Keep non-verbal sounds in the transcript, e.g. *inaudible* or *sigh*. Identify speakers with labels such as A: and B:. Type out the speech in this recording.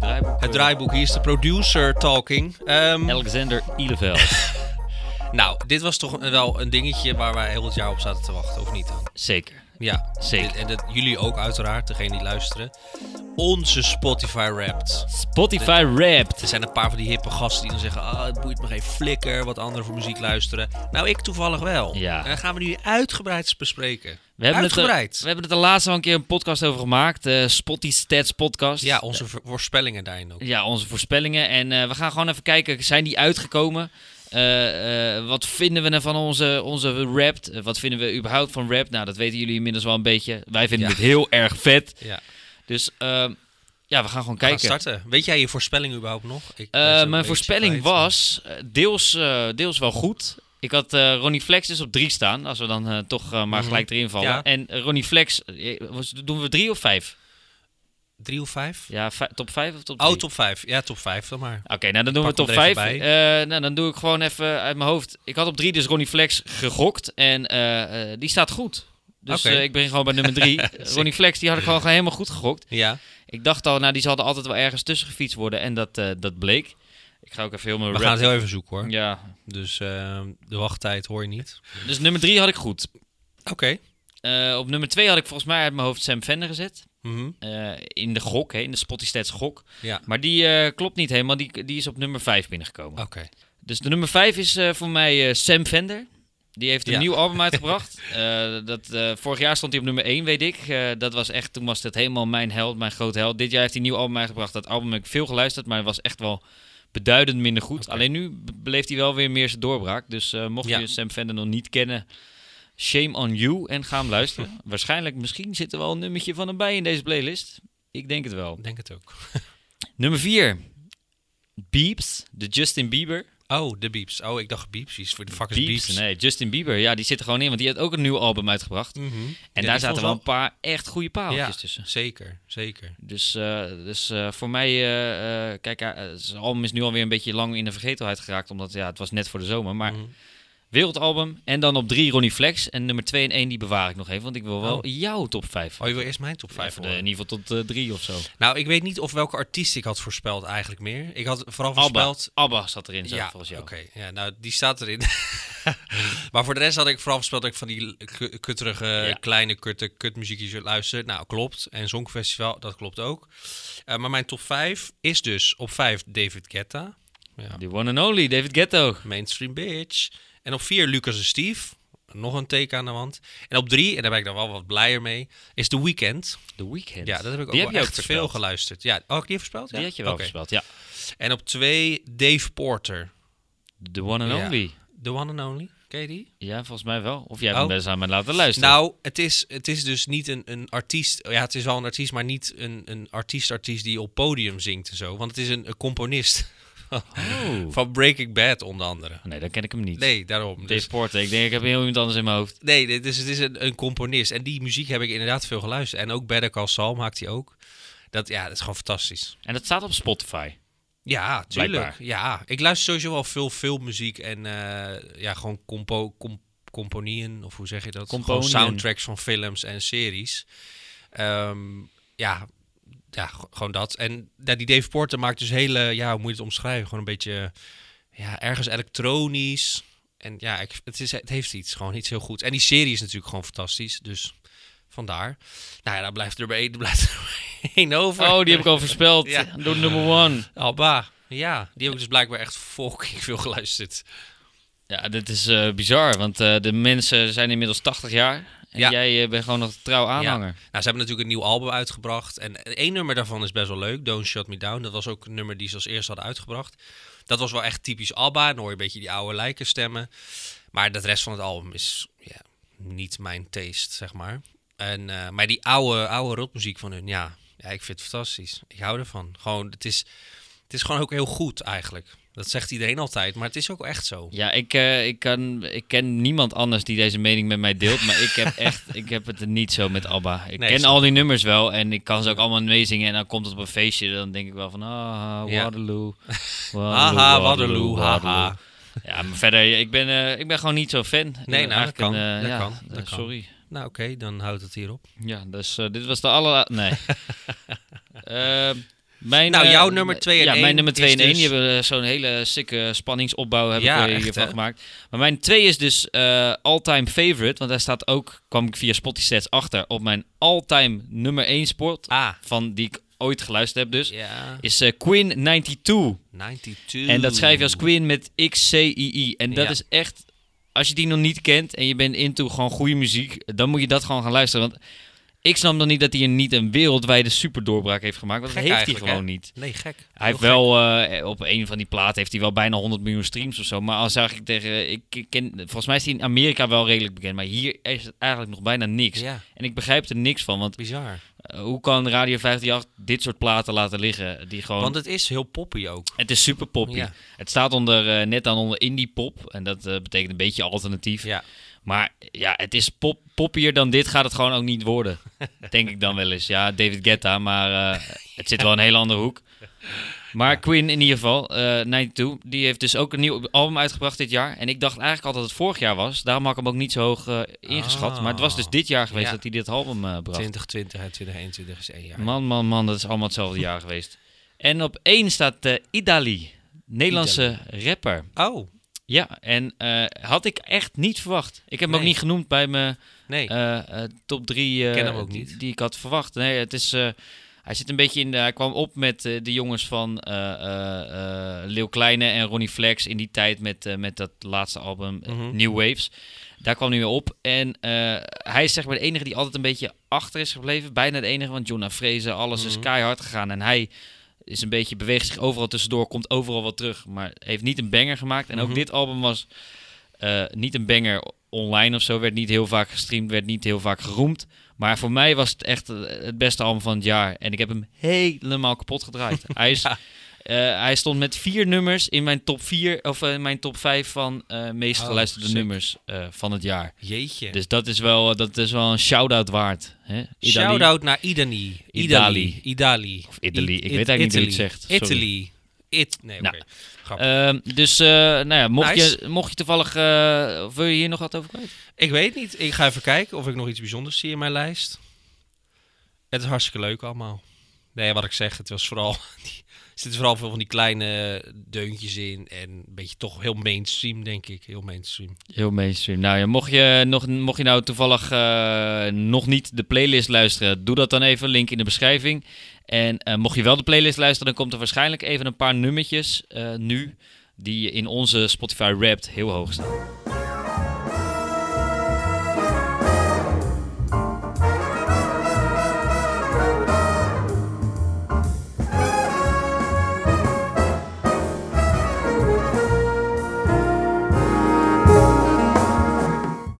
A: eh,
B: het draaiboek. Hier is de producer talking. Ehm,
A: Alexander Ileveld.
B: nou, dit was toch wel een dingetje waar wij heel het jaar op zaten te wachten, of niet dan?
A: *laughs* Zeker.
B: Ja,
A: Zeker.
B: Dit- en dat, jullie ook uiteraard, degene die luisteren. Onze Spotify Wrapped.
A: Spotify Wrapped.
B: Er zijn een paar van die hippe gasten die dan zeggen... Ah, het boeit me geen flikker wat anderen voor muziek luisteren. Nou, ik toevallig wel.
A: Ja.
B: En dat gaan we nu uitgebreid bespreken.
A: We hebben, het er,
B: uitgebreid.
A: we hebben het er laatst al een keer een podcast over gemaakt. eh Spotty Stats podcast.
B: Ja, onze vo- voorspellingen daarin ook.
A: Ja, onze voorspellingen. En eh, we gaan gewoon even kijken, zijn die uitgekomen? Eh, eh, wat vinden we nou van onze, onze Wrapped? Eh, wat vinden we überhaupt van Wrapped? Nou, dat weten jullie inmiddels wel een beetje. Wij vinden
B: Ja.
A: het heel erg vet.
B: Ja.
A: Dus ehm, ja, we gaan gewoon
B: We
A: kijken.
B: gaan starten. Weet jij je voorspelling überhaupt nog? Ik ben
A: Eh,
B: ze een
A: mijn
B: beetje
A: voorspelling
B: kwijt.
A: was eh, deels, eh, deels wel goed. Ik had eh, Ronnie Flex dus op drie staan. Als we dan eh, toch eh, maar
B: Mhm.
A: gelijk erin vallen.
B: Ja.
A: En eh, Ronnie Flex, eh, was- doen we drie of vijf?
B: Drie of vijf?
A: Ja, vij- top vijf of top
B: Oh,
A: drie?
B: top vijf. Ja, top vijf dan maar.
A: Oké, nou dan doen we
B: Pak hem
A: top
B: er
A: 5.
B: even
A: nou, dan doe ik gewoon even uit mijn hoofd. Ik had op 3 dus Ronnie Flex gegokt. En eh, eh, die staat goed. Dus
B: Oké.
A: eh, ik begin gewoon bij nummer
B: *laughs*
A: 3. Ronnie Flex, die had ik gewoon gewoon helemaal goed gegokt.
B: Ja.
A: Ik dacht al, nou die zal er altijd wel ergens tussen gefietst worden. En dat, eh, dat bleek. Ik ga ook even heel mijn
B: We
A: rap-
B: gaan het heel even zoeken hoor.
A: Ja.
B: Dus eh, de wachttijd hoor je niet.
A: Dus nummer 3 had ik goed.
B: Oké.
A: Eh, op nummer 2 had ik volgens mij uit mijn hoofd Sam Vender gezet.
B: Mhm.
A: Eh, in de gok, hè, in de Spotty Stats gok.
B: Ja.
A: Maar die eh, klopt niet helemaal. Die, die is op nummer 5 binnengekomen.
B: Oké.
A: Dus de nummer 5 is eh, voor mij eh, Sam Vender. Die heeft een
B: Ja.
A: nieuw
B: *laughs*
A: album uitgebracht. Eh, dat, eh, vorig jaar stond hij op nummer 1, weet ik. Eh, dat was echt, toen was dat helemaal mijn held, mijn grote held. Dit jaar heeft hij een nieuw album uitgebracht. Dat album heb ik veel geluisterd, maar het was echt wel beduidend minder goed.
B: Oké.
A: Alleen nu be- beleeft hij wel weer meer zijn doorbraak. Dus eh, mocht
B: Ja.
A: je Sam Vender nog niet kennen, shame on you en ga hem
B: *laughs*
A: luisteren. Waarschijnlijk, misschien zit er wel een nummertje van hem bij in deze playlist. Ik denk het wel.
B: Ik Denk het ook.
A: Nummer 4. Beeps, de Justin Bieber.
B: Oh, de beeps. Oh, ik dacht beeps. Iets voor de fuckers beeps.
A: Bieps, Nee, Justin Bieber. Ja, die zit er gewoon in, want die heeft ook een nieuw album uitgebracht.
B: Mhm. Ja,
A: En
B: die
A: daar
B: vond
A: zaten wel een paar echt goede paaltjes
B: Ja.
A: tussen.
B: Zeker, zeker.
A: Dus, eh, dus eh, voor mij, eh, eh, kijk, eh, zijn album is nu alweer een beetje lang in de vergetelheid geraakt, omdat ja, het was net voor de zomer. Maar
B: Mhm.
A: wereldalbum en dan op drie Ronnie Flex en nummer 2 en 1 die bewaar ik nog even, want ik wil wel
B: Oh.
A: jouw top 5.
B: Oh, je wil eerst mijn top vijf
A: in
B: horen?
A: ieder geval tot eh, drie of zo.
B: Nou, ik weet niet of welke artiest ik had voorspeld eigenlijk meer. Ik had vooral
A: Abba,
B: voorspeld...
A: Abba zat erin, zo, volgens jou.
B: Oké, ja, nou die staat erin. *laughs* maar voor de rest had ik vooral voorspeld dat ik van die k- kutterige,
A: Ja.
B: kleine kutte, kutmuziekjes luister. Nou, klopt. En Songfestival, dat klopt ook. Eh, maar mijn top 5 is dus op 5 David Guetta. Ja,
A: The one and only, David Ghetto.
B: mainstream bitch. En op 4 Lucas en Steve. Nog een teken aan de wand. En op 3, en daar ben ik dan wel wat blijer mee, is The Weeknd.
A: The Weeknd.
B: Ja, dat heb ik ook
A: die
B: wel
A: heb je
B: echt
A: ook
B: veel
A: voorspeld.
B: geluisterd. Ja, ook die heb voorspeld? Ja?
A: Die had je wel
B: Oké.
A: gespeeld, ja.
B: En op 2 Dave Porter.
A: The one and
B: Ja.
A: only.
B: The one and only. Ken je die?
A: Ja, volgens mij wel. Of jij
B: Oh.
A: hebt hem best aan mij laten luisteren.
B: Nou, het is, het is dus niet een, een artiest. Ja, het is wel een artiest, maar niet een, een artiest-artiest die op podium zingt en zo. Want het is een, een componist *laughs*
A: Oh.
B: van Breaking Bad, onder andere.
A: Nee, dan ken ik hem niet.
B: Nee, daarom.
A: Dave
B: Dus,
A: Porter. Ik denk, ik heb heel iemand anders in mijn hoofd.
B: nee, dit is, het is een, een componist. En die muziek heb ik inderdaad veel geluisterd. En ook Better Call Saul maakt hij ook. Dat, ja, dat is gewoon fantastisch.
A: En dat staat op
B: *laughs*
A: Spotify.
B: Ja, tuurlijk.
A: Blijkbaar.
B: Ja, ik luister sowieso wel veel filmmuziek en eh, ja, gewoon compo, com, componieën, of hoe zeg je dat? Gewoon
A: Componieën.
B: soundtracks van films en series. Ehm, ja, ja, g- gewoon dat. En ja, die Dave Porter maakt dus hele, ja, hoe moet je het omschrijven? Gewoon een beetje, ja, ergens elektronisch. En ja, ik, het, is, het heeft iets, gewoon iets heel goed. En die serie is natuurlijk gewoon fantastisch, dus vandaar. Nou ja, daar blijft er maar *laughs* één, daar blijft er maar één over.
A: Oh, die heb ik al voorspeld.
B: Ja.
A: Door number one.
B: Alba, ja. Die heb ik dus blijkbaar echt fucking veel geluisterd.
A: Ja, dit is eh, bizar, want eh, de mensen zijn inmiddels 80 jaar. En
B: Ja.
A: jij eh, bent gewoon nog trouw aanhanger.
B: Nou, ze hebben natuurlijk een nieuw album uitgebracht. En één nummer daarvan is best wel leuk. Don't Shut Me Down. Dat was ook een nummer die ze als eerste hadden uitgebracht. Dat was wel echt typisch Alba. Dan hoor je een beetje die oude lijken stemmen. Maar de rest van het album is ja, niet mijn taste, zeg maar. En, eh, maar die oude, oude rotmuziek van hun, ja, ja, ik vind het fantastisch. Ik hou ervan. Gewoon, het is, het is gewoon ook heel goed eigenlijk. Dat zegt iedereen altijd, maar het is ook echt zo.
A: Ja, ik, eh, ik, kan, ik ken niemand anders die deze mening met mij deelt. Maar ik
B: *laughs*
A: heb echt, ik heb het er niet zo met ABBA. Ik
B: Nee,
A: ken
B: snap
A: al die nummers wel en ik kan ze ook allemaal meezingen. En dan komt het op een feestje, dan denk ik wel van, ah,
B: Ja.
A: Waterloo. Waterloo,
B: *laughs* Haha, Waterloo, haha.
A: Ja, maar verder, ik ben, eh, ik ben gewoon niet zo fan. Ik ben
B: nou, dat
A: eigenlijk
B: kan,
A: een, eh,
B: dat
A: ja,
B: kan,
A: eh,
B: dat kan.
A: Sorry.
B: Nou oké, dan houdt het hierop.
A: Ja, dus eh, dit was de allerlaatste... Nee. Ehm, Mijn,
B: Nou,
A: eh,
B: jouw nummer twee en
A: ja,
B: één
A: mijn nummer 2
B: is
A: en 1.
B: dus-
A: Die hebben eh, zo'n hele sikke spanningsopbouw heb
B: Ja,
A: ik eh,
B: echt,
A: hiervan
B: hè?
A: gemaakt. Maar mijn 2 is dus eh, all-time favorite. Want daar staat ook, kwam ik via Spotify Stats achter, op mijn all-time nummer 1 sport.
B: Ah,
A: Van die ik ooit geluisterd heb dus.
B: ja.
A: Is eh, Queen 92.
B: 92.
A: En dat schrijf je als Queen met X-C-I-I. En dat
B: Ja.
A: is echt... Als je die nog niet kent en je bent into gewoon goede muziek... dan moet je dat gewoon gaan luisteren. Want ik snap dan niet dat hij een- niet een wereldwijde superdoorbraak heeft gemaakt. Want
B: Gek
A: dat heeft hij
B: eigenlijk,
A: gewoon
B: hè?
A: niet.
B: Nee, gek.
A: Hij heeft wel... eh, op een van die platen heeft hij wel bijna 100 miljoen streams of zo. Maar als zag ik tegen... Ik ik ken, volgens mij is hij in Amerika wel redelijk bekend. Maar hier is het eigenlijk nog bijna niks.
B: Ja,
A: En ik begrijp er niks van. Want
B: bizar.
A: eh, hoe kan Radio 538 dit soort platen laten liggen? Die gewoon...
B: Want het is heel poppy ook.
A: Het is super poppy.
B: Ja.
A: Het staat onder, eh, net aan onder indie pop. En dat eh, betekent een beetje alternatief.
B: Ja.
A: Maar ja, het is pop, poppier dan dit gaat het gewoon ook niet
B: *laughs*
A: worden. Denk ik dan wel eens. Ja, David Guetta, maar eh, het zit wel in een hele andere hoek. Maar Queen in ieder geval, eh 92, die heeft dus ook een nieuw album uitgebracht dit jaar. En ik dacht eigenlijk al dat het vorig jaar was. Daarom had ik hem ook niet zo hoog eh, ingeschat. Maar het was dus dit jaar geweest
B: Ah. Ja.
A: dat hij dit album eh, bracht.
B: 2020 en 2021 is één jaar.
A: Man, man, man, dat is allemaal hetzelfde jaar geweest. En op één staat eh Idali, Nederlandse rapper.
B: Oh,
A: Ja, en eh, had ik echt niet verwacht. Ik heb hem ook
B: Nee.
A: niet genoemd bij mijn
B: nee.
A: eh, eh, top drie eh,
B: ken hem ook
A: die-
B: niet.
A: Die, ik had verwacht. Nee, het is, eh, hij zit een beetje in de, hij kwam op met eh, de jongens van eh, eh, eh, Leeuw Kleine en Ronnie Flex in die tijd met, eh, met dat laatste album eh,
B: Mhm.
A: New Waves. Daar kwam hij weer op. En eh, hij is zeg maar de enige die altijd een beetje achter is gebleven. Bijna de enige, want John Frezen, alles is
B: Mhm.
A: keihard gegaan. En hij is een beetje, beweegt zich overal tussendoor, komt overal wat terug. Maar heeft niet een banger gemaakt. En
B: Mhm.
A: ook dit album was eh, niet een banger online of zo. Werd niet heel vaak gestreamd, werd niet heel vaak geroemd. Maar voor mij was het echt eh, het beste album van het jaar. En ik heb hem helemaal kapot
B: *laughs*
A: gedraaid. hij, is,
B: Ja.
A: eh, hij stond met vier nummers in mijn top 4 of eh, in mijn top 5 van eh, meest
B: Oh,
A: geluisterde
B: sick.
A: nummers eh, van het jaar.
B: Jeetje.
A: Dus dat is wel, eh, dat is wel een shout-out waard. Hè? Idali.
B: Shout-out naar Idani. Idali. Idali.
A: Of Idali. Ik weet eigenlijk niet hoe je het zegt. Sorry.
B: Italy. It. Nee, oké.
A: Nou,
B: Grappig.
A: Ehm, dus eh, nou ja, mocht,
B: Nice.
A: je, mocht je toevallig, eh, of wil je hier nog wat over kwijt?
B: ik weet niet. Ik ga even kijken of ik nog iets bijzonders zie in mijn lijst. Het is hartstikke leuk allemaal. Nee, wat ik zeg, het was vooral... *laughs* die- er zitten vooral veel van die kleine deuntjes in. En een beetje toch heel mainstream, denk ik. Heel mainstream.
A: Heel mainstream. Nou ja, mocht je, nog, mocht je nou toevallig eh, nog niet de playlist luisteren, doe dat dan even. Link in de beschrijving. En eh, mocht je wel de playlist luisteren, dan komt er waarschijnlijk even een paar nummertjes eh, nu. Die in onze Spotify Wrapped heel hoog staan.